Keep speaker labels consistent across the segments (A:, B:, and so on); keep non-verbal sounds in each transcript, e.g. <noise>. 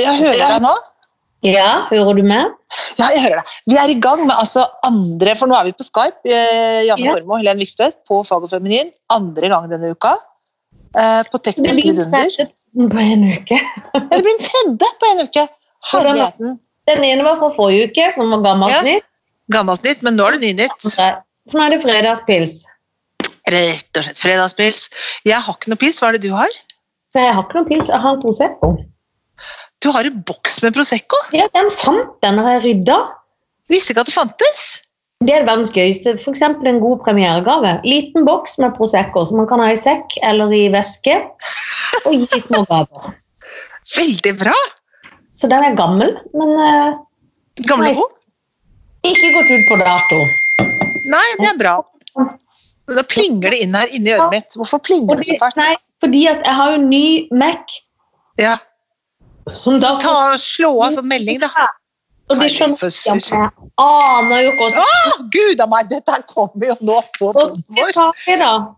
A: Jeg hører deg nå.
B: Ja, hører du meg?
A: Ja, jeg hører deg. Vi er i gang med altså andre, for nå er vi på Skype, eh, Janne
B: Ja.
A: Formoe og Helen Vikstvedt på Fag og Feminin. Andre gang denne uka. eh, På
B: Det
A: Teknisk
B: blir jo
A: vidunder.
B: sett på en uke.
A: Ja, Det blir en tredje på en uke!
B: Hvordan-
A: Herligheten.
B: Den ene var fra forrige uke, som var gammelt
A: Ja.
B: nytt.
A: Gammelt nytt, men nå er det ny nytt.
B: Så nå er det fredagspils.
A: Rett og slett fredagspils. Jeg har ikke noe pils, hva er det du har?
B: For jeg har ikke noen pils, jeg har en Prosecco.
A: Du har en boks med Prosecco!
B: Ja, den fant jeg når jeg rydda.
A: Visste ikke at det fantes!
B: Det er verdens gøyeste. F.eks. en god premieregave. Liten boks med Prosecco som man kan ha i sekk eller i veske. Og gi i små gaver.
A: Veldig bra!
B: Så den er gammel, men eh,
A: Gamle
B: Nei.
A: god.
B: ikke gått ut på dato.
A: Nei, det er bra. Da plinger det inn her inni øret mitt. Hvorfor plinger det så
B: Fordi,
A: fælt?
B: nei, fordi at jeg har jo ny Mac.
A: Ja.
B: Som da
A: Ta, slå av sånn melding, da.
B: Og det skjønner
A: Herregud, for
B: jeg.
A: sur.
B: Jeg aner jo ikke hvordan
A: Å, Gud a meg, dette her kommer jo nå på
B: hvordan
A: båten
B: skal jeg
A: vår.
B: ta det, da.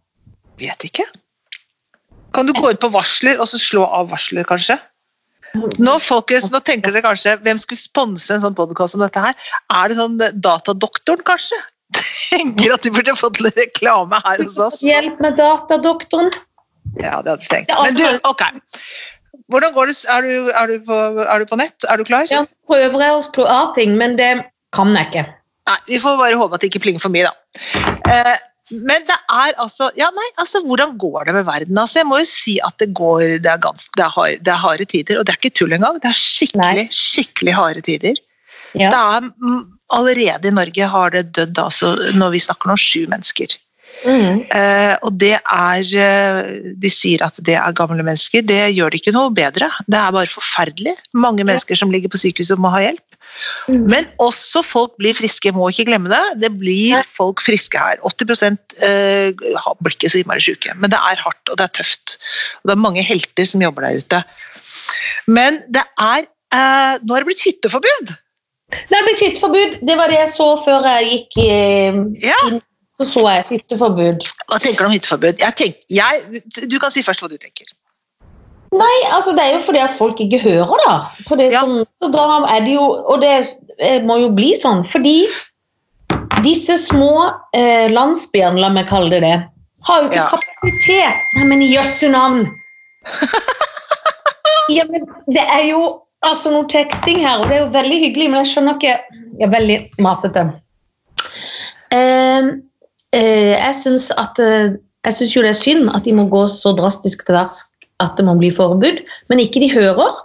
A: Vet ikke. Kan du gå ut på varsler, og så slå av varsler, kanskje? Nå folkens, nå tenker dere kanskje, hvem skulle sponse en sånn podkast som dette her? Er det sånn eh, Datadoktoren, kanskje? <laughs> Tenker at de burde fått litt reklame her hos oss.
B: Hjelp med datadoktoren.
A: Ja, det hadde jeg tenkt.
B: Det er
A: Men du,
B: alt-
A: ok. Hvordan går det? Er du, er du, på, er du på nett? Er du klar?
B: Ja, prøver jeg å skru av ting, men det kan jeg ikke.
A: Nei, vi får bare håpe at det ikke plinger for mye, da. Eh, men det er altså Ja, nei, altså hvordan går det med verden? Altså, jeg må jo si at det går Det er, gans, det er, hard, det er harde tider, og det er ikke tull engang. Det er skikkelig, skikkelig harde tider.
B: Ja.
A: Det er mm, Allerede i Norge har det dødd, altså, når vi snakker om sju mennesker.
B: Mm.
A: Eh, og det er eh, De sier at det er gamle mennesker. Det gjør det ikke noe bedre. Det er bare forferdelig. Mange mennesker som ligger på sykehus og må ha hjelp.
B: Mm.
A: Men også folk blir friske, må ikke glemme det. Det blir
B: Nei.
A: folk friske her. 80 eh, har- blir ikke så innmari syke. Men det er hardt, og det er tøft. Og det er mange helter som jobber der ute. Men det er eh, Nå har det blitt hytteforbud!
B: Det er blitt hytteforbud. Det var det jeg så før jeg gikk i
A: Ja.
B: inn. Så så jeg hytteforbud.
A: Hva tenker du om hytteforbud? Jeg tenk, jeg, du kan si først hva du tenker.
B: Nei, altså Det er jo fordi at folk ikke hører, da. På det
A: Ja.
B: som, og da er det jo Og det eh, må jo bli sånn, fordi disse små eh, landsbyene, la meg kalle det det, har jo ikke
A: Ja.
B: kapasitet. Nei, men i jøssu navn!
A: <laughs>
B: ja, men det er jo altså noe teksting her, og det er jo veldig hyggelig, men jeg skjønner ikke Ja, veldig masete. Eh, eh, jeg syns at eh, jeg synes jo det er synd at de må gå så drastisk til verks at det må bli forbud, men ikke de hører.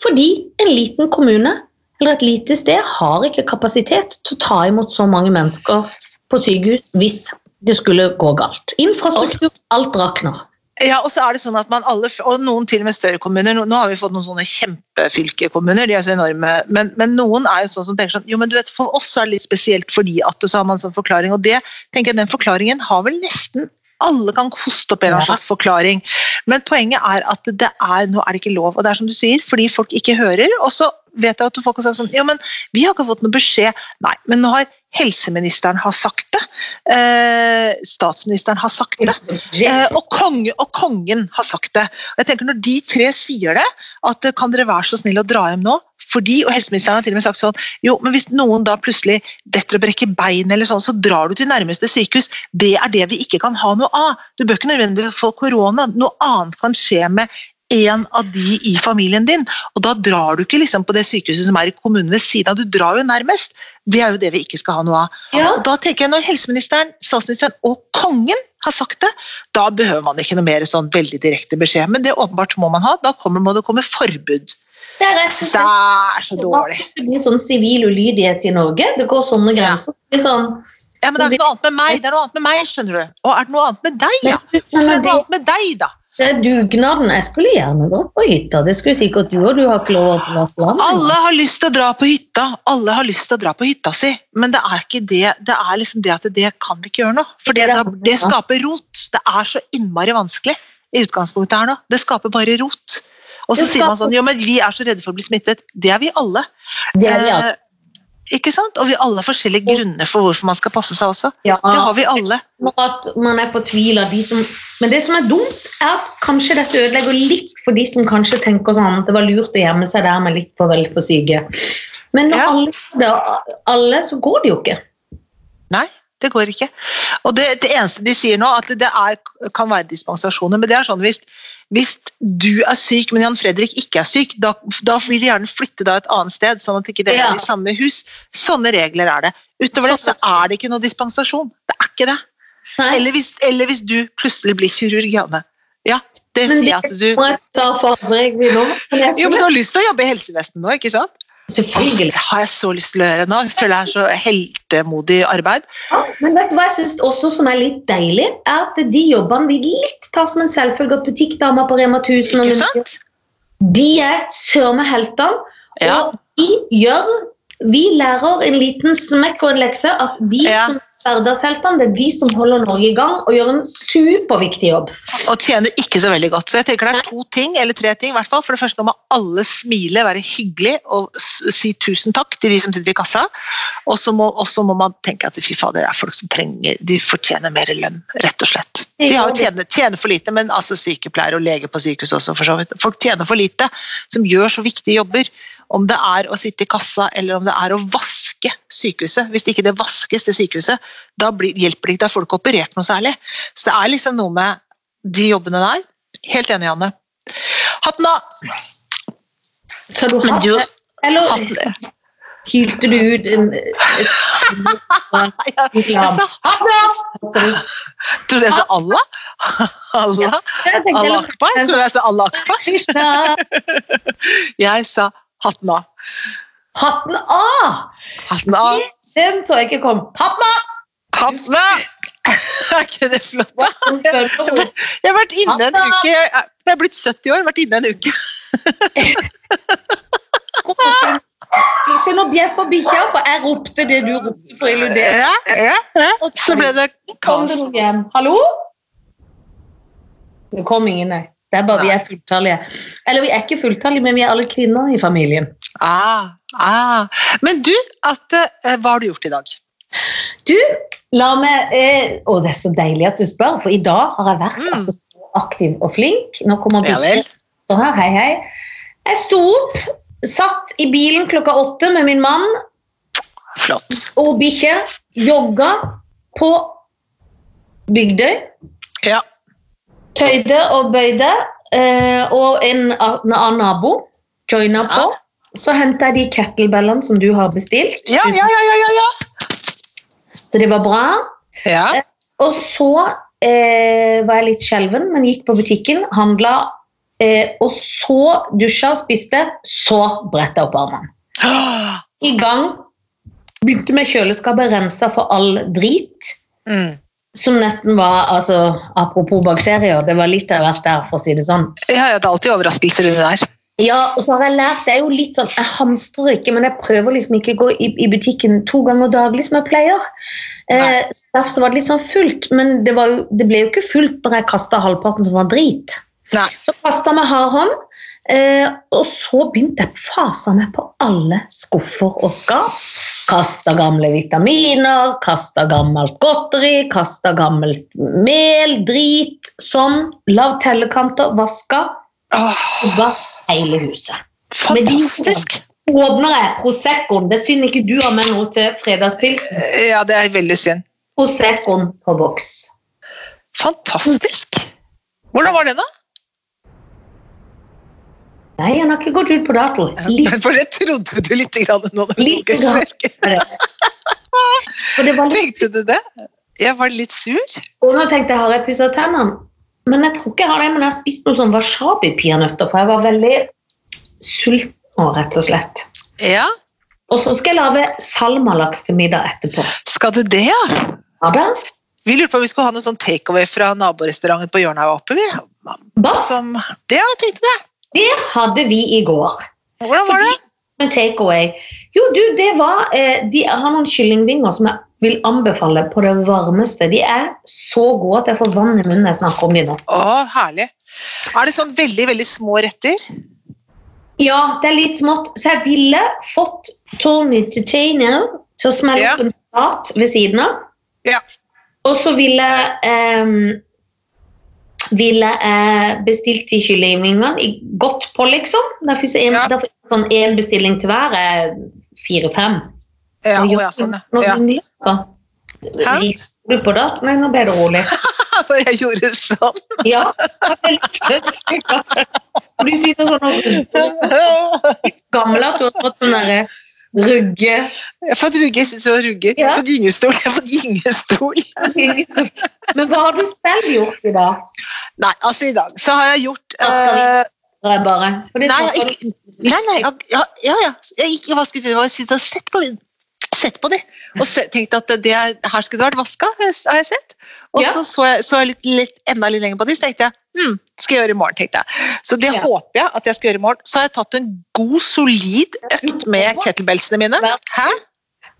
B: Fordi en liten kommune eller et lite sted har ikke kapasitet til å ta imot så mange mennesker på sykehus hvis det skulle gå galt. Infrastruktur, alt rakner.
A: Ja, og så er det sånn at man alle, og noen til og med større kommuner, nå nå har vi fått noen sånne kjempefylkekommuner, de er så enorme, men, men noen er jo sånn som tenker sånn, jo men du vet, for oss er det litt spesielt fordi at, og så har man en sånn forklaring, og det, tenker jeg, den forklaringen har vel nesten alle kan hoste opp en eller annen
B: Ja.
A: slags forklaring. Men poenget er at det er, nå er det ikke lov. Og det er som du sier, fordi folk ikke hører. Og så vet jeg at folk har sagt sånn Jo, men vi har ikke fått noe beskjed. Nei, men nå har helseministeren har sagt det. Eh, statsministeren har sagt det. Eh, og, konge, og kongen har sagt det. Og jeg tenker Når de tre sier det, at eh, kan dere være så snill å dra hjem nå? Fordi, og Helseministeren har til og med sagt sånn jo, men hvis noen da plutselig detter og brekker bein, eller sånn, så drar du til nærmeste sykehus. Det er det vi ikke kan ha noe av. Du bør ikke nødvendigvis få korona. Noe annet kan skje med en av de i familien din. Og da drar du ikke liksom på det sykehuset som er i kommunen ved siden av. Du drar jo nærmest. Det er jo det vi ikke skal ha noe av.
B: Ja.
A: Og da tenker jeg Når helseministeren, statsministeren og kongen har sagt det, da behøver man ikke noe mer sånn veldig direkte beskjed. Men det åpenbart må man ha. Da kommer, må det komme forbud.
B: Det er rett og
A: Så Det
B: slett
A: er så dårlig.
B: Det blir sånn sivil ulydighet i Norge. Det går sånne
A: Ja.
B: grenser. Det blir sånn,
A: Ja, men det er ikke noe annet med meg, det er noe annet med meg, skjønner du. Og er det noe annet med deg, ja?
B: Men
A: Så er det
B: det-
A: noe annet med deg, da.
B: Det er dugnaden. Jeg skulle gjerne gått på hytta. Det skulle sikkert du og Du har ikke lov å forlate landet.
A: Alle har lyst til å dra på hytta, alle har lyst til å dra på hytta si. Men det er ikke det, det er liksom det at det kan vi ikke gjøre noe. For det, da- det skaper rot. Det er så innmari vanskelig i utgangspunktet her nå. Det skaper bare rot. Og så
B: Det
A: sier man
B: skaper-
A: sånn, jo men vi er så redde for å bli smittet. Det er vi alle.
B: Det er vi alle.
A: Eh, Ikke sant? Og vi alle har forskjellige grunner for hvorfor man skal passe seg også.
B: Ja,
A: eh, Det har vi alle.
B: og at man er fortvila. De som, men det som er dumt, er at kanskje dette ødelegger litt for de som kanskje tenker sånn at det var lurt å gjemme seg der med litt for veldig for syke. Men når
A: Ja.
B: alle gjør det, alle, så går det jo ikke.
A: Nei, det går ikke. Og det, det eneste de sier nå, at det er, kan være dispensasjoner, men det er sånn hvis, hvis du er syk, men Jan Fredrik ikke er syk, da, da vil de gjerne flytte deg et annet sted, sånn at ikke dere
B: Ja.
A: er i samme hus. Sånne regler er det. Utover det så er det ikke noe dispensasjon. Det er ikke det.
B: Nei.
A: Eller hvis, eller hvis du plutselig blir kirurg, Janne. Ja, det
B: Men
A: sier
B: det
A: at du
B: må jeg ta for andre jeg vil nå. Men jeg
A: Jo, men du har lyst til å jobbe i helsevesenet nå, ikke sant? Åh,
B: Selvfølgelig.
A: Det har jeg så lyst til å gjøre nå. Jeg føler jeg er så heltemodig arbeid.
B: Ja, Men vet du hva jeg synes også som er litt deilig, er at de jobbene vi litt tar som en selvfølge at butikkdamer på Rema 1000 og
A: Ikke
B: Lunde,
A: sant?
B: de er søren meg heltene.
A: Ja.
B: Og vi gjør vi lærer en liten smekk og en lekse at de
A: Ja.
B: som er hverdagsheltene, det er de som holder Norge i gang og gjør en superviktig jobb.
A: og tjener ikke så veldig godt. Så jeg tenker det er to ting, eller tre ting i hvert fall. For det første nå må alle smile, være hyggelig og s- si tusen takk til de som sitter i kassa. Og så må, og så må man tenke at fy fader, det er folk som trenger De fortjener mer lønn, rett og slett. De har jo tjener, tjener for lite, men altså sykepleiere og leger på sykehus også, for så vidt. Folk tjener for lite, som gjør så viktige jobber. Om det er å sitte i kassa, eller om det er å vaske sykehuset. Hvis ikke det vaskes til sykehuset, da blir, hjelper det ikke. Da får du ikke operert noe særlig. Så det er liksom noe med de jobbene der. Helt enig, Janne. Hatten av!
B: Skal du ha
A: Men du,
B: det? Eller
A: hatten <laughs>
B: hylte du ut en,
A: Nei, jeg,
B: et
A: jeg
B: islam?
A: sa, trodde jeg sa Allah? <laughs> Allah?
B: Jeg tenkte,
A: Allah
B: eller,
A: akbar? Trodde jeg sa Allah akbar?
B: Krishna,
A: Jeg sa hatten av.
B: hatten av!
A: Hatten av!
B: Den så jeg ikke kom. Hatten
A: <laughs>
B: av!
A: Hatten av! <laughs> Er ikke det flott? da?
B: Hun følger henne.
A: Jeg har vært inne en
B: Hatten av!
A: uke. Jeg er- jeg er blitt 70 år, vært inne en uke.
B: Se, nå bjeffer bikkja, for jeg ropte det du ropte på Illudé.
A: Ja, ja, ja. Så ble det
B: Kom
A: kaos.
B: det noen hjem? Hallo? Det kom ingen, nei. Det er bare vi er fulltallige. Eller vi er ikke fulltallige, men vi er alle kvinner i familien.
A: Ah, ah. Men du, Atte, eh, hva har du gjort i dag?
B: Du, la meg eh, Å, det er så deilig at du spør, for i dag har jeg vært
A: Mm.
B: altså, så aktiv og flink. Nå kommer
A: Ja vel.
B: bikkja etter her. Hei, hei. Jeg sto opp, satt i bilen klokka åtte med min mann
A: Flott.
B: og bikkje. Jogga på Bygdøy.
A: Ja.
B: Tøyde og bøyde. eh, og en a- en annen nabo joina på. Så henta jeg de kettlebellene som du har bestilt.
A: Ja, ja, ja, ja, ja, ja.
B: Så det var bra.
A: Ja,
B: Og så eh, var jeg litt skjelven, men gikk på butikken, handla, eh, og så dusja og spiste. Så bretta jeg opp armene.
A: Ah,
B: I gang. Begynte med kjøleskapet, rensa for all drit.
A: <gasps> Mm.
B: Som nesten var altså, Apropos bakterier, det var litt av hvert der, for å si det sånn.
A: Ja, ja, det er alltid overraskelser inni der.
B: Ja, og så har jeg lært, det er jo litt sånn, jeg hamstrer ikke, men jeg prøver liksom ikke å gå i, i butikken to ganger daglig som jeg pleier. Eh,
A: Nei.
B: derfor så var det litt sånn fullt, men det, var jo, det ble jo ikke fullt når jeg kastet halvparten som var drit.
A: Nei.
B: Så kastet jeg med hardhånd, eh, og så begynte jeg fasa meg på alle skuffer og skap. Kastet gamle vitaminer, kastet gammelt godteri, kastet gammelt mel, drit, sånn, lav tellekanter, vasket,
A: Åh,
B: jobba hele huset.
A: fantastisk!
B: Åpner jeg Proseccoen. Det er synd ikke du har med noe til fredagspilsen.
A: Ja, det er veldig synd.
B: Proseccoen på boks.
A: Fantastisk! Hvordan var det, da?
B: Nei, han har ikke gått ut på dato. Litt,
A: For det trodde du litt grann nå. når du
B: Litt
A: tok en
B: grann.
A: slurk.
B: for det var litt.
A: Tenkte du det? Jeg var litt sur.
B: Og nå tenkte jeg, har jeg pusset tennene? Men jeg tror ikke jeg har det, men jeg har spist noen sånn wasabi-peanøtter, for jeg var veldig sulten, nå, rett og slett.
A: Ja,
B: Og så skal jeg lage salmalaks til middag etterpå.
A: skal du det, ja?
B: Ja da.
A: Vi lurte på om vi skulle ha noe sånn takeaway fra naborestauranten på hjørnet her oppe. vi.
B: Bass,
A: Som, det, ja, jeg tenkte det.
B: det hadde vi i går.
A: Hvordan var det?
B: Men takeaway Jo, du, det var eh, De har noen kyllingvinger som jeg vil anbefale på det varmeste. De er så gode at jeg får vann i munnen når jeg snakker om de nå.
A: Å, herlig. Er det sånn veldig, veldig små retter?
B: Ja, det er litt smått, så jeg ville fått Tony Titanium til å smelle
A: Ja.
B: opp en stat ved siden av.
A: Ja.
B: Og så ville jeg ville jeg bestilt de kyllingvingene i godt på, liksom. Derfor er en,
A: Ja.
B: derfor er sånn en bestilling til hver eh, er fire-fem.
A: Ja,
B: Og
A: å, ja, sånn, ja.
B: når
A: ja.
B: den løper.
A: Hæ?
B: Rister du på dat? Nei, nå ble det rolig.
A: For <laughs> jeg gjorde
B: <laughs>
A: sånn.
B: Ja, det er litt søtt. For Du sitter sånn og gammel at du har fått sånn derre rugge
A: Jeg har fått rugge, jeg synes det var rugge. Jeg
B: Ja.
A: har fått gyngestol. Jeg har fått gyngestol.
B: liksom. Men hva har du selv gjort i dag?
A: Nei, altså i dag så har jeg gjort
B: Hva skal vi-
A: eh,
B: Spør jeg bare. For det
A: Nei,
B: smaker
A: jeg- Nei, nei, ja, ja, ja, ja. Jeg gikk i vaskefirmaet og sitte og sett på, sett på det. Og se, tenkte at det er, her skulle det vært vaska, har jeg sett. Og
B: Ja.
A: så så jeg, så jeg litt, litt, enda litt lenger på det, så tenkte jeg hm, skal jeg gjøre i morgen. tenkte jeg. Så det
B: Ja.
A: håper jeg at jeg skal gjøre i morgen. Så har jeg tatt en god, solid økt med kettlebellsene mine.
B: Ja.
A: Hæ?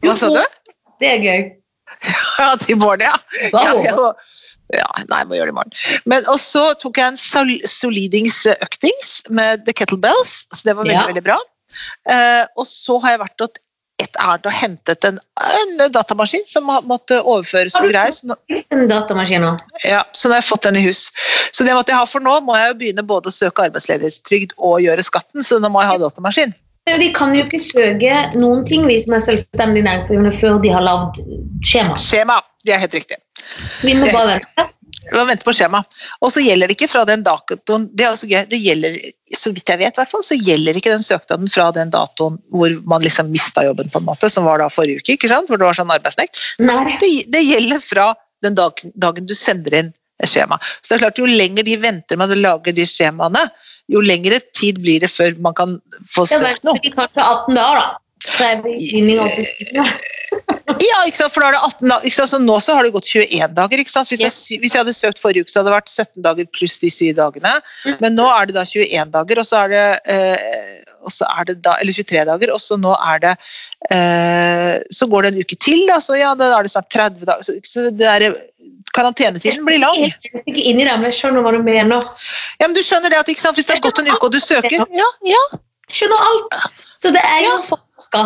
A: Hva sa du?
B: Det er gøy.
A: Ja, til morgen, ja.
B: Hva
A: Ja, jeg
B: håper du?
A: må, ja, nei, jeg må gjøre det i morgen. Men, og så tok jeg en sol solidings eh, øktings med the kettlebells, så det var veldig,
B: Ja.
A: veldig bra. Eh, og så har jeg vært til et ærend og hentet en, en datamaskin som har- måtte overføres
B: Har
A: noe
B: du-
A: greier. Så nå,
B: En datamaskin nå.
A: ja, så nå har jeg fått den i hus. Så det måtte jeg ha, for nå må jeg jo begynne både å søke arbeidsledighetstrygd og gjøre skatten, så nå må jeg ha datamaskin.
B: Men vi kan jo ikke søke noen ting, vi som er selvstendig næringsdrivende, før de har lagd skjema.
A: Skjema, det er helt riktig.
B: Så vi må bare vente.
A: Vi må vente på skjema. Og så gjelder det ikke fra den datoen Det er også gøy. Det gjelder, så vidt jeg vet, i hvert fall, så gjelder ikke den søknaden fra den datoen hvor man liksom mista jobben, på en måte, som var da forrige uke, ikke sant? hvor det var sånn arbeidsnekt.
B: Nei.
A: Det, det gjelder fra den dagen, dagen du sender inn skjema. Så det er klart, jo lenger de venter med å lage de skjemaene, jo lengre tid blir det før man kan få
B: Det er
A: søkt noe.
B: verst de kanskje 18 dager, da. Så er vi inne i åpningstiden.
A: Ja, ikke sant? for da er det 18 dager. Ikke sant? Så nå så har det gått 21 dager. Ikke sant? Hvis,
B: Ja.
A: jeg, sy- hvis jeg hadde søkt forrige uke, så hadde det vært 17 dager pluss de syv dagene.
B: Mm.
A: Men nå er det da 21 dager, og så er det, eh, og så er det da, eller 23 dager, og så nå er det eh, Så går det en uke til, da, så ja, da er det snart 30 dager. Så, så det der, karantenetiden blir lang.
B: Jeg er ikke inni det, men jeg skjønner hva du mener.
A: Ja, men du skjønner det at ikke sant? hvis det har gått en uke, og du søker Ja, ja,
B: Skjønner alt. Så det er jo forska.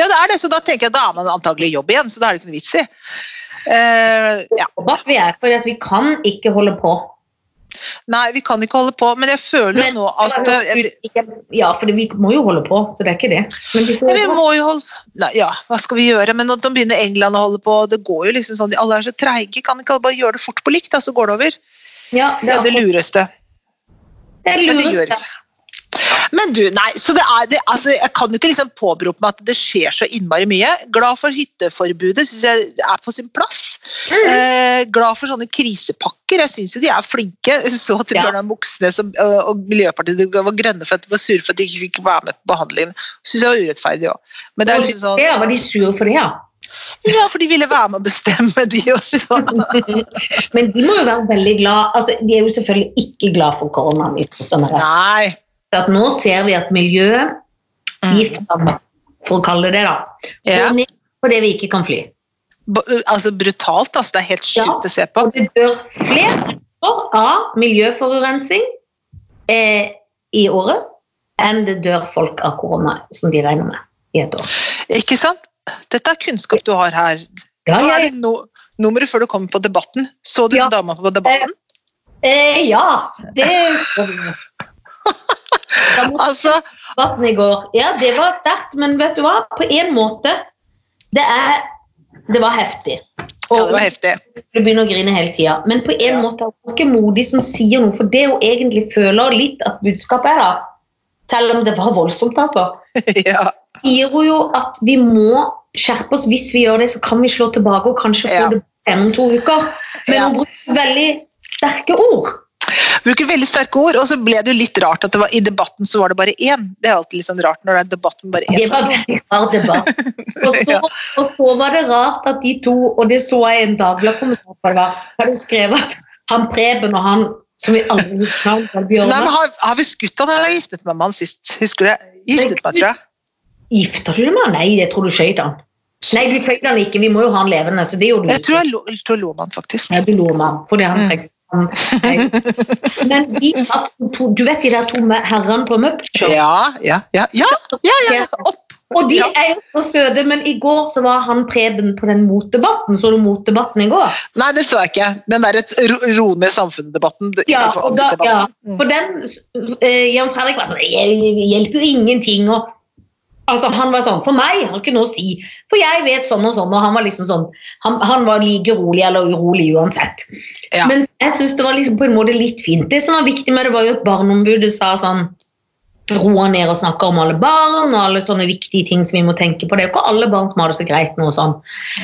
A: ja det er det. Så da tenker jeg da er man antagelig i jobb igjen, så da er det ikke noe vits i. Eh, ja.
B: Håper vi er, for vi kan ikke holde på.
A: Nei, vi kan ikke holde på, men jeg føler jo
B: Men-
A: nå at eh, jeg,
B: Ja, for vi må jo holde på, så det er ikke det. Men vi
A: Ja,
B: får
A: vi må jo holde Nei, ja, hva skal vi gjøre? Men at de begynner England å holde på, det går jo liksom sånn Alle er så treige, kan ikke alle bare gjøre det fort på likt, da, så går det over?
B: ja,
A: Det er det lureste.
B: det er
A: men det
B: lurest,
A: gjør
B: ja.
A: Men du, nei, så det er det Altså, jeg kan jo ikke liksom påberope meg at det skjer så innmari mye. Glad for hytteforbudet, syns jeg er på sin plass.
B: Mm.
A: Eh, glad for sånne krisepakker. Jeg syns jo de er flinke. Jeg så at
B: Ja.
A: Bjørnar Moxnes og, eh, og Miljøpartiet De Grønne var grønne for at de var sure for at de ikke fikk være med på behandlingen. Syns jeg var urettferdig òg. Men det er liksom sånn
B: Ja, var de sure for det, ja?
A: Ja, for de ville være med å bestemme, de også.
B: <laughs> Men de må jo være veldig glad altså, De er jo selvfølgelig ikke glad for korona. misforstå meg rett.
A: Nei.
B: For at nå ser vi at miljøet
A: Mm.
B: gifter for å kalle det det, da.
A: Ja.
B: Går ned fordi vi ikke kan fly.
A: B- Altså brutalt, altså. Det er helt sjukt
B: Ja.
A: å se på.
B: Og det dør flere mennesker av miljøforurensning eh, i året enn det dør folk av korona, som de regner med i et år.
A: Ikke sant? Dette er kunnskap du har her.
B: Ja,
A: Nå
B: ja,
A: er det no nummeret før du kommer på Debatten. Så du
B: Ja.
A: dama på Debatten?
B: Eh, ja, det Eh, Da måtte
A: <laughs> Altså,
B: debatten i går. Ja, det var sterkt, men vet du hva? På en måte Det er Det var heftig.
A: ja, det var heftig.
B: du begynner å grine hele tida. Men på en
A: Ja.
B: måte er hun ganske modig som sier noe, for det hun egentlig føler litt at budskapet er, da. Selv om det var voldsomt, altså.
A: <laughs> ja.
B: Sier hun jo at vi må skjerpe oss. Hvis vi gjør det, så kan vi slå tilbake og kanskje få
A: Ja.
B: det bedre om to uker. Men
A: Ja.
B: hun bruker veldig sterke ord.
A: Bruker veldig sterke ord. Og så ble det jo litt rart at det var, i Debatten så var det bare én. Det er alltid litt sånn rart når det er debatt med bare
B: Det
A: én.
B: var veldig rar
A: <laughs>
B: debatt. Og så,
A: Ja.
B: og så var det rart at de to, og det så jeg i en Dagbladet-kommentar, på det var, hadde skrevet at han Preben og han som vi aldri husker navnet på,
A: Nei, men
B: Bjørnar
A: har, har vi skutt han eller har jeg giftet meg med han sist? Husker du det? Giftet meg, tror jeg.
B: Gifta du deg med han? Nei, jeg tror du skjøt han. Nei, du skjøt han ikke, vi må jo ha han levende. Så det gjorde du
A: Jeg tror jeg, lo, jeg tror jeg lå med han, faktisk.
B: Nei, du lo med han, fordi han
A: Mm.
B: trengte han. Nei. Men de satt som to, du vet de der to med herrene på Muppet Show?
A: Ja, ja, ja. ja. Ja, ja, ja. Opp,
B: Og de er jo så søte, men i går så var han Preben på den motdebatten. Så du motdebatten i går?
A: Nei, det så jeg ikke. Den der et ro- ro ned samfunnet-debatten. det-
B: Ja,
A: innenfor
B: og da,
A: angstdebatten.
B: ja.
A: Mm.
B: For den eh, Jan Fredrik var sånn Det hjelper jo ingenting. Og, altså, han var sånn For meg har ikke noe å si. For jeg vet sånn og sånn. Og han var liksom sånn Han, han var like rolig eller urolig uansett.
A: Ja.
B: Men jeg syns det var liksom på en måte litt fint. Det som var viktig med det, var jo at Barneombudet sa sånn Roa ned og snakke om alle barn og alle sånne viktige ting som vi må tenke på. Det er jo ikke alle barn som har det så greit nå og sånn.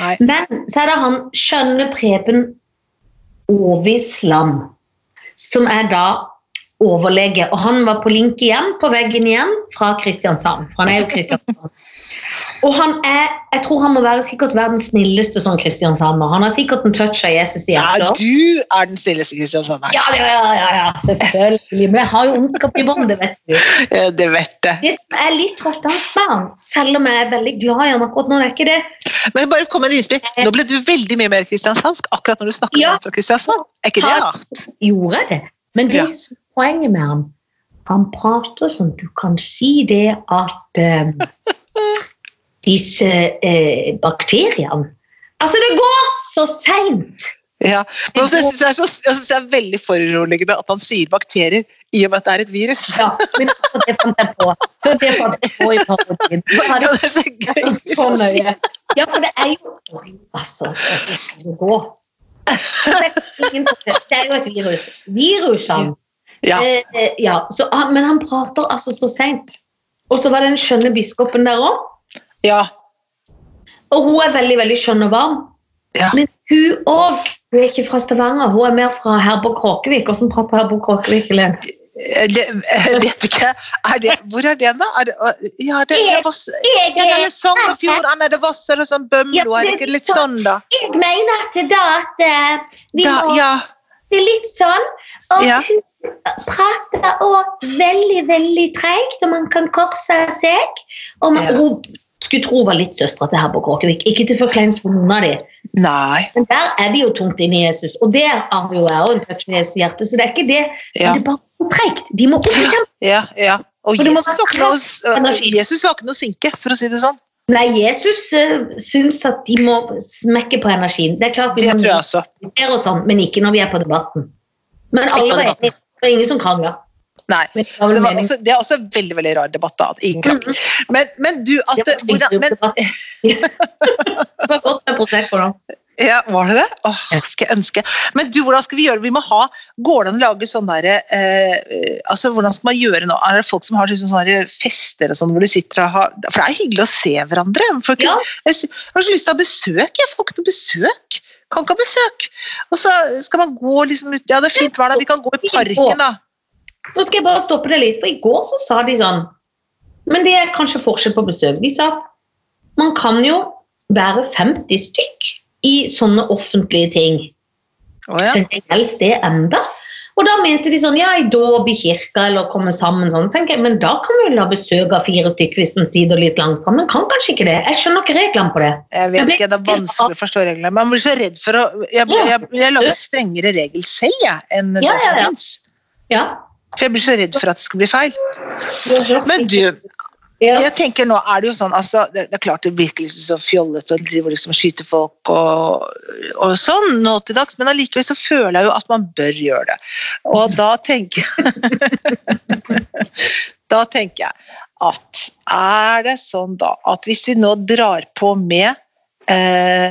A: Nei.
B: Men så er det han skjønne Preben Aavitsland, som er da overlege. Og han var på link igjen, på veggen igjen, fra Kristiansand. For han er jo Kristiansand. Og han er, jeg tror han må være sikkert verdens snilleste sånn kristiansander. Han har sikkert en touch av Jesus i
A: Ja,
B: hjertet.
A: du er den snilleste kristiansanderen.
B: Ja, ja, ja, ja, ja, selvfølgelig. Men jeg har jo ondskap i bånd, det vet du.
A: Eh, Det vet jeg.
B: Det som er litt Røstlandsbarn, selv om jeg er veldig glad i han akkurat nå, det er ikke det.
A: Men bare kom med et innspill. Nå ble du veldig mye mer kristiansandsk akkurat når du snakker
B: Ja.
A: om fra Kristiansand. Er ikke det
B: Ja.
A: rart?
B: gjorde det. Men det
A: Ja.
B: som er poenget med ham Han prater som du kan si det at eh, <laughs> disse eh, bakteriene Altså, det går så seint!
A: Ja. Men også, jeg syns det, er så- jeg synes det er veldig foruroligende at han sier bakterier i og med at det er et virus.
B: Ja, men akkurat det fant jeg på. Så det fant jeg på i parodien. Så er
A: <laughs> Ja,
B: det
A: det er så gøy.
B: så nøye. Ja, for det er jo Oi, altså, altså skal det gå? Det er ingen problem. Det er jo et virus. Virusene
A: Ja.
B: Eh, eh, ja, så, ah, men han prater altså så seint. Og så var den skjønne biskopen der òg.
A: Ja.
B: Og hun er veldig veldig skjønn og varm.
A: Ja.
B: Men hun òg Hun er ikke fra Stavanger, hun er mer fra Herborg Kråkevik. Hvordan prater Herborg Kråkevik, Helen?
A: Eh, Det, jeg vet ikke. Er det, hvor er den, da? Er det, ja, det er Voss...
B: Jeg,
A: Ja, det er sånn Sogn og Fjordane, det er Voss eller sånn
B: Ja,
A: Bømlo,
B: det
A: er
B: er
A: det ikke
B: litt
A: litt sånn, da?
B: mener at det da at eh,
A: da ja.
B: det er litt sånn.
A: og Ja.
B: hun prater òg veldig, veldig treigt, og man kan korse seg. Og
A: man- Ja.
B: Hun skulle tro hun var litt søstera til Herborg Kråkevik. Ikke til forkleinelse for noen av de.
A: Nei.
B: Men der er det jo tungt inn i Jesus, og det har jo jeg òg en touch med Jesus i hjertet, så det er ikke det.
A: Ja,
B: Men det er bare treigt. De må opp i tempo.
A: ja. ja. Og
B: For det må
A: Jesus var,
B: være
A: ikke noe, å s-
B: energi.
A: Jesus var ikke noe sinke, for å si det sånn.
B: Nei, Jesus uh, syns at de må smekke på energien. Det er klart vi
A: Det
B: må
A: tror jeg også.
B: diskutere og sånn, men ikke når vi er på debatten. Men
A: Ikke
B: alle
A: på
B: var
A: debatten.
B: enige. Det var ingen som krangla.
A: Nei.
B: Men det
A: Så
B: var vel
A: det, var
B: meningen. Mm-hmm.
A: også, det er også en veldig veldig rar debatt. da, at ingen krangler. Men, men du, at
B: Det var
A: det- hvordan, men, <laughs>
B: <laughs> Det var godt med Prosecco, da.
A: ja, Var det det? Åh, skal jeg ønske. Men du, hvordan skal vi gjøre det? Vi må ha Går det an å lage sånn derre eh, eh, Altså, hvordan skal man gjøre nå? Er det folk som har liksom sånne fester og sånn hvor de sitter og har For det er hyggelig å se hverandre. men Folk,
B: Ja.
A: jeg, sy- jeg har så lyst til å ha besøk. Jeg får ikke noe besøk. Kan ikke ha besøk. Og så skal man gå liksom ut Ja, det er fint vær, da. Vi kan gå i parken, da.
B: Nå skal jeg bare stoppe det litt, for i går så sa de sånn Men det er kanskje forskjell på besøk. De sa at man kan jo være 50 stykk i sånne offentlige ting.
A: Å, ja.
B: Så det gjelder det enda. Og da mente de sånn, ja, i dåp i kirka, eller komme sammen sånn. tenker jeg, Men da kan vi vel ha besøk av fire stykker hvis en sitter litt langt fra. Men kan kanskje ikke det. Jeg skjønner ikke reglene på det.
A: Jeg
B: Jeg
A: vet
B: ble
A: ikke, det er
B: helt
A: vanskelig å forstå reglene. Man blir så redd for å Jeg, jeg, jeg, lager strengere regel, sier jeg, enn det
B: Ja,
A: som
B: ja, ja.
A: fins.
B: Ja.
A: For jeg blir så redd for at det skal bli feil. Men du,
B: ja.
A: jeg tenker nå er det jo sånn altså, Det, det er klart det virker liksom så fjollete og driver liksom og skyter folk og, og sånn nå til dags, men allikevel så føler jeg jo at man bør gjøre det. Og da tenker <laughs> Da tenker jeg at er det sånn da at hvis vi nå drar på med eh,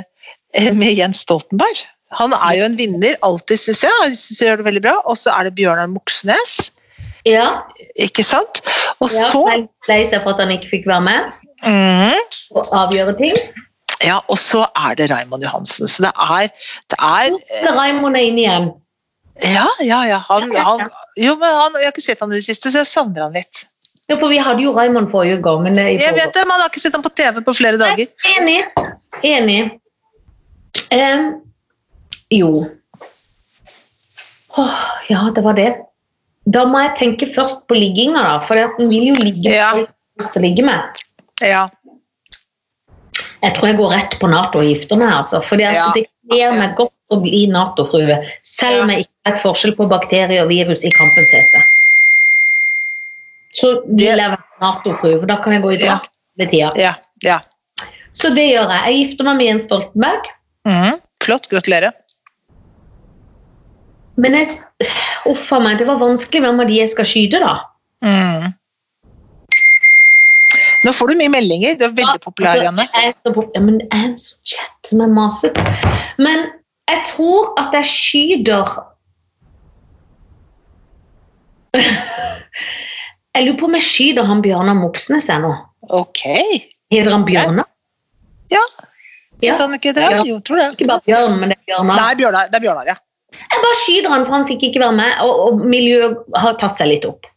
A: med Jens Stoltenberg Han er jo en vinner alltid, syns jeg. Han synes jeg gjør det veldig bra. Og så er det Bjørnar Moxnes,
B: ja.
A: ikke sant? Og
B: ja.
A: så
B: Jeg er lei seg for at han ikke fikk være med
A: Mhm.
B: og avgjøre ting.
A: Ja, og så er det Raymond Johansen. Så det er, det er
B: Så Raymond er inne igjen.
A: Ja, ja, ja. Han,
B: Ja, ja, ja.
A: han, jo, men han, jeg har ikke sett han i det siste, så jeg savner han litt.
B: Ja, for vi hadde jo Raymond forrige gang, men det er i
A: Jeg vet
B: forgårs.
A: det, men han har ikke sett han på TV på flere dager.
B: Enig. Enig. Em, jo. Åh, ja, det var det. Da må jeg tenke først på ligginga, da. For den vil jo ligge med
A: Ja.
B: folk du har lyst til å ligge med.
A: Ja,
B: Jeg tror jeg går rett på Nato og gifter meg, altså. For
A: Ja.
B: det kler meg godt å bli Nato-frue. Selv om jeg ikke vet forskjell på bakterier og virus i kampens hete. Så vil
A: Det-
B: jeg være Nato-frue, for da kan jeg gå i
A: Ja.
B: drakt hele tida.
A: Ja. ja.
B: Så det gjør jeg. Jeg gifter meg med Jens Stoltenberg.
A: Mhm. Flott. Gratulerer.
B: Men jeg s- <sighs> Uff a meg, det var vanskelig. Hvem av de jeg skal skyte, da?
A: Mhm. Nå får du mye meldinger. Du er veldig populær,
B: Altså,
A: Janne.
B: jeg er så pop- Ja, men jeg er en sånn chat som er masete. Men jeg tror at jeg skyter <laughs> Jeg lurer på om jeg skyter han Bjørnar Moxnes jeg nå.
A: Ok.
B: Heter han Bjørnar?
A: Ja.
B: ja.
A: Kan ikke det?
B: Ja.
A: Jo, tror det.
B: Ikke bare Bjørn, men det er Bjørnar.
A: Nei, Bjørnar. Det er Bjørnar, ja.
B: Jeg bare skyter han, for han fikk ikke være med, og, og miljøet har tatt seg litt opp.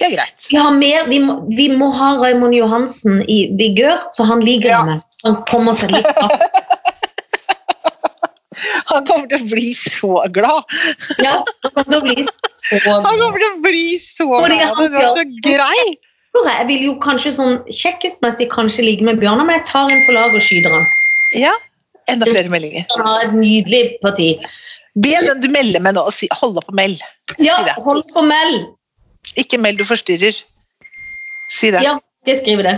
A: Det er greit.
B: Vi, har mer, vi, må, vi må ha Raymond Johansen i vigør, så han ligger
A: Ja.
B: med. Han kommer seg litt av.
A: Han kommer til å bli så glad.
B: Ja, han kommer til å bli så
A: Han kommer til å bli så
B: Fordi
A: glad.
B: han
A: Men du er så grei.
B: Jeg vil jo kanskje sånn kjekkestmessig kanskje ligge med Bjørnar, men jeg tar en for laget og skyter han.
A: Ja. Enda flere meldinger.
B: Han har et nydelig parti.
A: Be den du melder med nå, og si, hold opp og meld.
B: Ja,
A: Si det.
B: hold på meld!
A: Ikke meld, du forstyrrer. Si det.
B: Ja, jeg skriver det.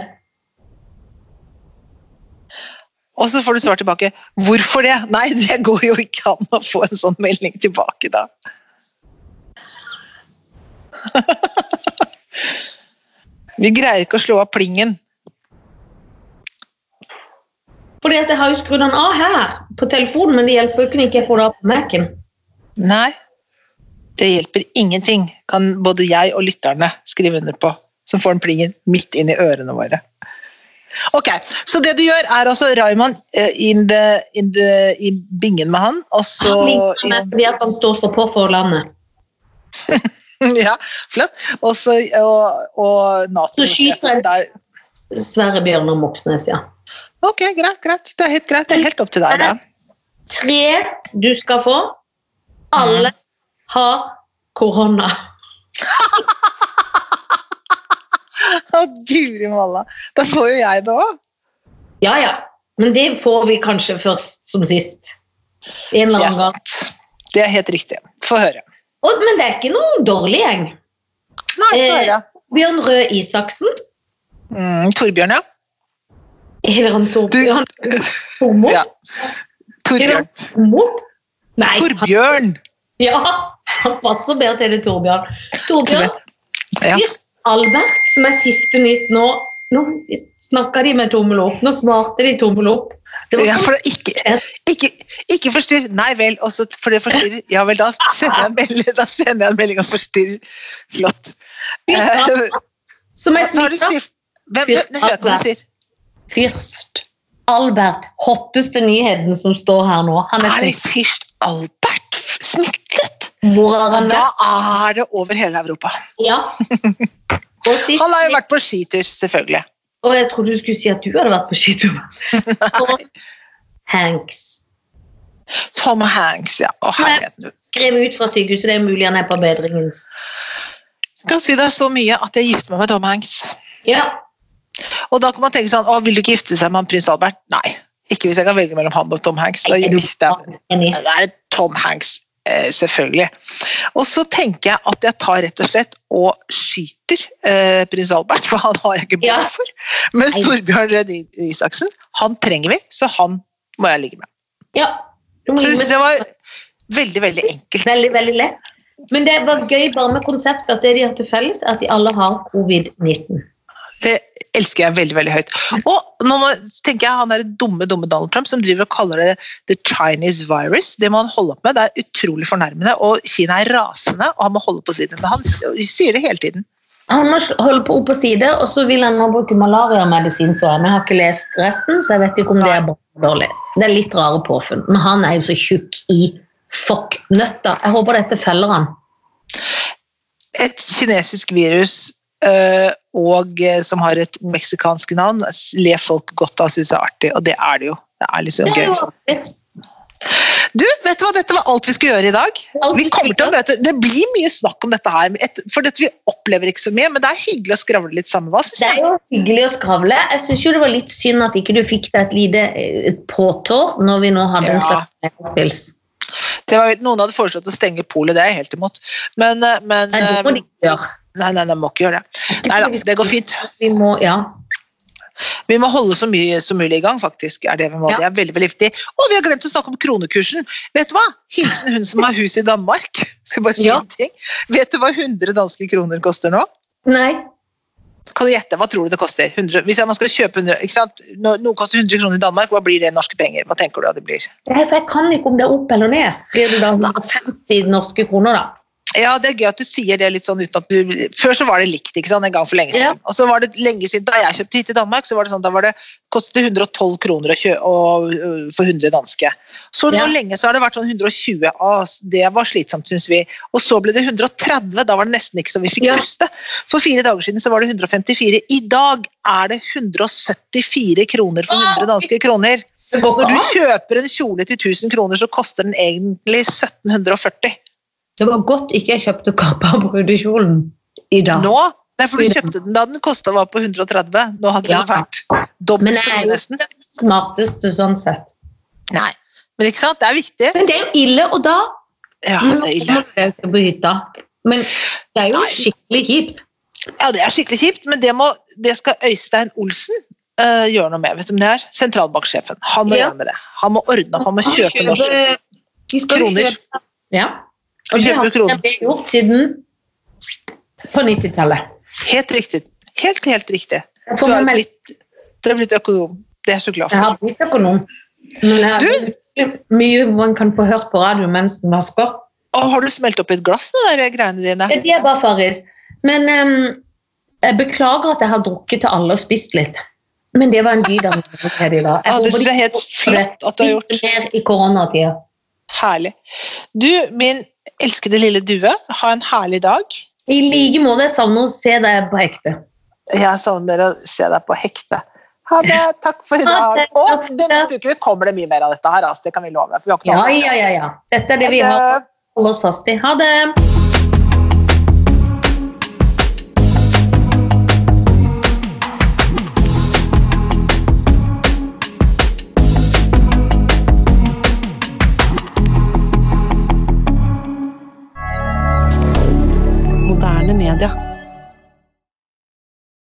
A: Og så får du svar tilbake. Hvorfor det? Nei, det går jo ikke an å få en sånn melding tilbake da. <laughs> Vi greier ikke å slå av plingen.
B: Fordi at jeg har jo skrudd han av her på telefonen, men det hjelper jo ikke når jeg ikke får det av på Mac-en.
A: Nei, det hjelper ingenting, kan både jeg og lytterne skrive under på. Som får den plingen midt inn i ørene våre. Ok, Så det du gjør, er altså Raymond eh, in the, in the, i bingen med han, og så
B: Han ligger med fordi at han står så på for landet.
A: <laughs> Ja, flott. Og så og, og Nato.
B: Så skyter jeg.
A: Der.
B: Sverre Bjørnar Moxnes, ja.
A: Ok, greit, greit. Det er helt greit. Det er helt opp til deg, da.
B: Tre du skal få. Alle
A: Mm.
B: har korona.
A: Å, Guri malla. Da får jo jeg det òg.
B: Ja, ja. Men det får vi kanskje først som sist. En
A: Det
B: eller
A: er
B: annen gang.
A: sant. Det er helt riktig. Få høre.
B: Og, men det er ikke noen dårlig gjeng.
A: Nei, få
B: Eh.
A: høre.
B: Bjørn Røe Isaksen.
A: Mm, Torbjørn, ja.
B: Eller han
A: Du-
B: Torbjørn Tormo.
A: Ja. Torbjørn.
B: Tormo? Nei, han,
A: Torbjørn!
B: ja, han passer bedre til det Torbjørn. Torbjørn
A: Ja.
B: Fyrst Albert, som er siste nytt nå Nå snakka de med tommel opp. Nå svarte de tommel opp. Det var
A: Ja,
B: sånn-
A: for det- ikke, ikke, ikke forstyrr. Nei vel, og så for det forstyrrer. Ja vel, da sender jeg en melding, da sender jeg en melding og forstyrrer. Flott. Eh, <laughs>
B: Fyrst, som er
A: hva er det du
B: smitta.
A: sier? Hvem, hvem, hvem, hva du sier?
B: Fyrst Albert, hotteste nyheten som står her nå. Han er
A: Er det
B: smitt.
A: fyrst Albert smittet?
B: Hvor har han
A: Da
B: vært?
A: er det over hele Europa.
B: Ja. Og sist
A: Han har jo vært på skitur, selvfølgelig.
B: Og jeg trodde du skulle si at du hadde vært
A: <laughs>
B: på skitur. Og Hanks.
A: Tom Hanks, ja. Å, herligheten.
B: Skrevet ut fra sykehuset, det er mulig han er på bedringens.
A: Jeg kan si deg så mye at jeg gifter meg med Tom Hanks.
B: Ja,
A: Og da kan man tenke sånn, å, vil du ikke gifte seg med han prins Albert? Nei. Ikke hvis jeg kan velge mellom han og Tom Hanks. Da
B: er du
A: gifter jeg meg.
B: enig?
A: Ja, Da er det Tom Hanks, eh, selvfølgelig. Og så tenker jeg at jeg tar rett og slett og skyter eh, prins Albert, for han har jeg ikke
B: Ja.
A: behov for. Mens
B: Nei.
A: Torbjørn Røe Isaksen, han trenger vi, så han må jeg ligge med.
B: Ja. Du må
A: Så
B: gi
A: jeg synes
B: meg
A: det var veldig, veldig enkelt.
B: veldig, veldig lett. Men det var gøy bare med konseptet at det de har til felles, er at de alle har covid-19.
A: Det elsker jeg veldig, veldig høyt. Og nå må, tenker jeg han er dumme, dumme Donald Trump som driver og kaller det the Chinese virus. Det må han holde opp med. Det er utrolig fornærmende, og Kina er rasende, og han må holde på siden. Men han sier det hele tiden.
B: Han må sl- holde på opp på side, og så vil han nå bruke malariamedisin, så jeg. Men jeg har ikke lest resten, så jeg vet ikke om det er bra eller dårlig. Det er litt rare påfunn. Men han er jo så tjukk i fucknøtta. Jeg håper dette feller han.
A: et kinesisk virus øh, og eh, som har et meksikansk navn, ler folk godt av og syns er artig. Og det er det jo. Det er liksom
B: Det er
A: gøy.
B: jo artig.
A: Du, vet du hva, dette var alt vi skulle gjøre i dag.
B: Alt
A: Vi
B: vi
A: kommer
B: skulle
A: til å møte, Det blir mye snakk om dette her, men et- for dette vi opplever ikke så mye. Men det er hyggelig å skravle litt sammen. Hva syns
B: Det
A: du?
B: er jo hyggelig å skravle. Jeg syns jo det var litt synd at ikke du fikk deg et lite eh, et påtår når vi nå
A: Ja.
B: hadde en slags nedspils.
A: Det var, noen hadde foreslått å stenge polet, det er jeg helt imot. Men, eh, men
B: Nei, det må
A: eh,
B: de ikke gjøre.
A: Nei, nei, nei, må ikke gjøre det.
B: Ikke
A: Nei da,
B: fordi vi skal-
A: det går fint.
B: Vi må, ja.
A: Vi må holde så mye som mulig i gang, faktisk. er Det vi må.
B: Ja.
A: Det er veldig veldig viktig. Og vi har glemt å snakke om kronekursen. Vet du hva? Hilsen hun som har hus i Danmark. <laughs> Skal bare si
B: Ja.
A: en ting. Vet du hva 100 danske kroner koster nå?
B: Nei.
A: Kan du gjette, Hva tror du det koster? 100, hvis man skal kjøpe 100, ikke sant? Når Noe koster 100 kroner i Danmark, hva blir det i norske penger? Hva tenker du at det blir?
B: Nei, for jeg kan ikke om det er opp eller ned. Blir det da 150 norske kroner, da?
A: Ja, det er gøy at du sier det litt sånn uten at du Før så var det likt, ikke sant, en gang for lenge siden.
B: Ja.
A: Og så var det lenge siden, da jeg kjøpte hytte i Danmark, så var det sånn, da var det, kostet det 112 kroner å kjø, å, ø, for 100 danske. Så nå
B: Ja.
A: lenge så har det vært sånn 120, ah, det var slitsomt, syns vi. Og så ble det 130, da var det nesten ikke så vi fikk
B: Ja.
A: puste. For fire dager siden så var det 154. I dag er det 174 kroner for 100 danske kroner.
B: Det går
A: Når
B: ikke
A: du
B: an.
A: kjøper en kjole til 1000 kroner, så koster den egentlig 1740.
B: Det var godt ikke jeg kjøpte kappa av brudekjolen i dag.
A: Nå? Nei, for du kjøpte den da den kosta var på 130. Nå hadde
B: Ja.
A: den vært dobbelt
B: Men
A: så mye
B: jeg-
A: nesten.
B: Smarteste sånn sett.
A: Nei. Men ikke sant, det er viktig.
B: Men det er jo ille, og da
A: Ja,
B: Nå
A: det er ille.
B: kommer det ikke på hytta. Men det er jo
A: Nei.
B: skikkelig kjipt.
A: Ja, det er skikkelig kjipt, men det, må, det skal Øystein Olsen eh, gjøre noe med. Vet du om det er? Sentralbanksjefen. Han må
B: Ja.
A: gjøre med det. Han må ordne opp, han må kjøpe norsk.
B: De skal jo
A: kroner.
B: kjøpe- Ja.
A: Vi
B: det
A: kjøper
B: har
A: kroner.
B: blitt gjort siden på 90-tallet.
A: Helt riktig. Helt, helt riktig.
B: Jeg
A: Du
B: får
A: har
B: meg meld-
A: blitt, du har blitt økonom. Det er jeg så glad
B: jeg
A: for.
B: har blitt økonom. Men jeg har utrolig mye man kan få hørt på radio mens den vasker.
A: Å, har du smelt opp i et glass, de der greiene dine?
B: Det er bare farris. Men em, jeg beklager at jeg har drukket til alle og spist litt. Men det var en dyd av meg i dag.
A: <laughs>
B: Jeg
A: Ja, det
B: håper
A: synes
B: de
A: jeg er helt flott at du har gjort.
B: spiser mer i koronatida.
A: Herlig. Du, min elskede lille due, ha en herlig dag.
B: I like måte. Jeg savner å se deg på ekte.
A: Jeg savner å se deg på hekte. Ha det, takk for i dag.
B: Ha det,
A: Og
B: takk.
A: den neste uken kommer det mye mer av dette her, altså, det kan vi love. For vi har ikke
B: Ja,
A: noe annet.
B: ja, ja. ja. Dette er det vi
A: Ha
B: har
A: det.
B: holdt oss fast i. Ha det!
C: Moderne media.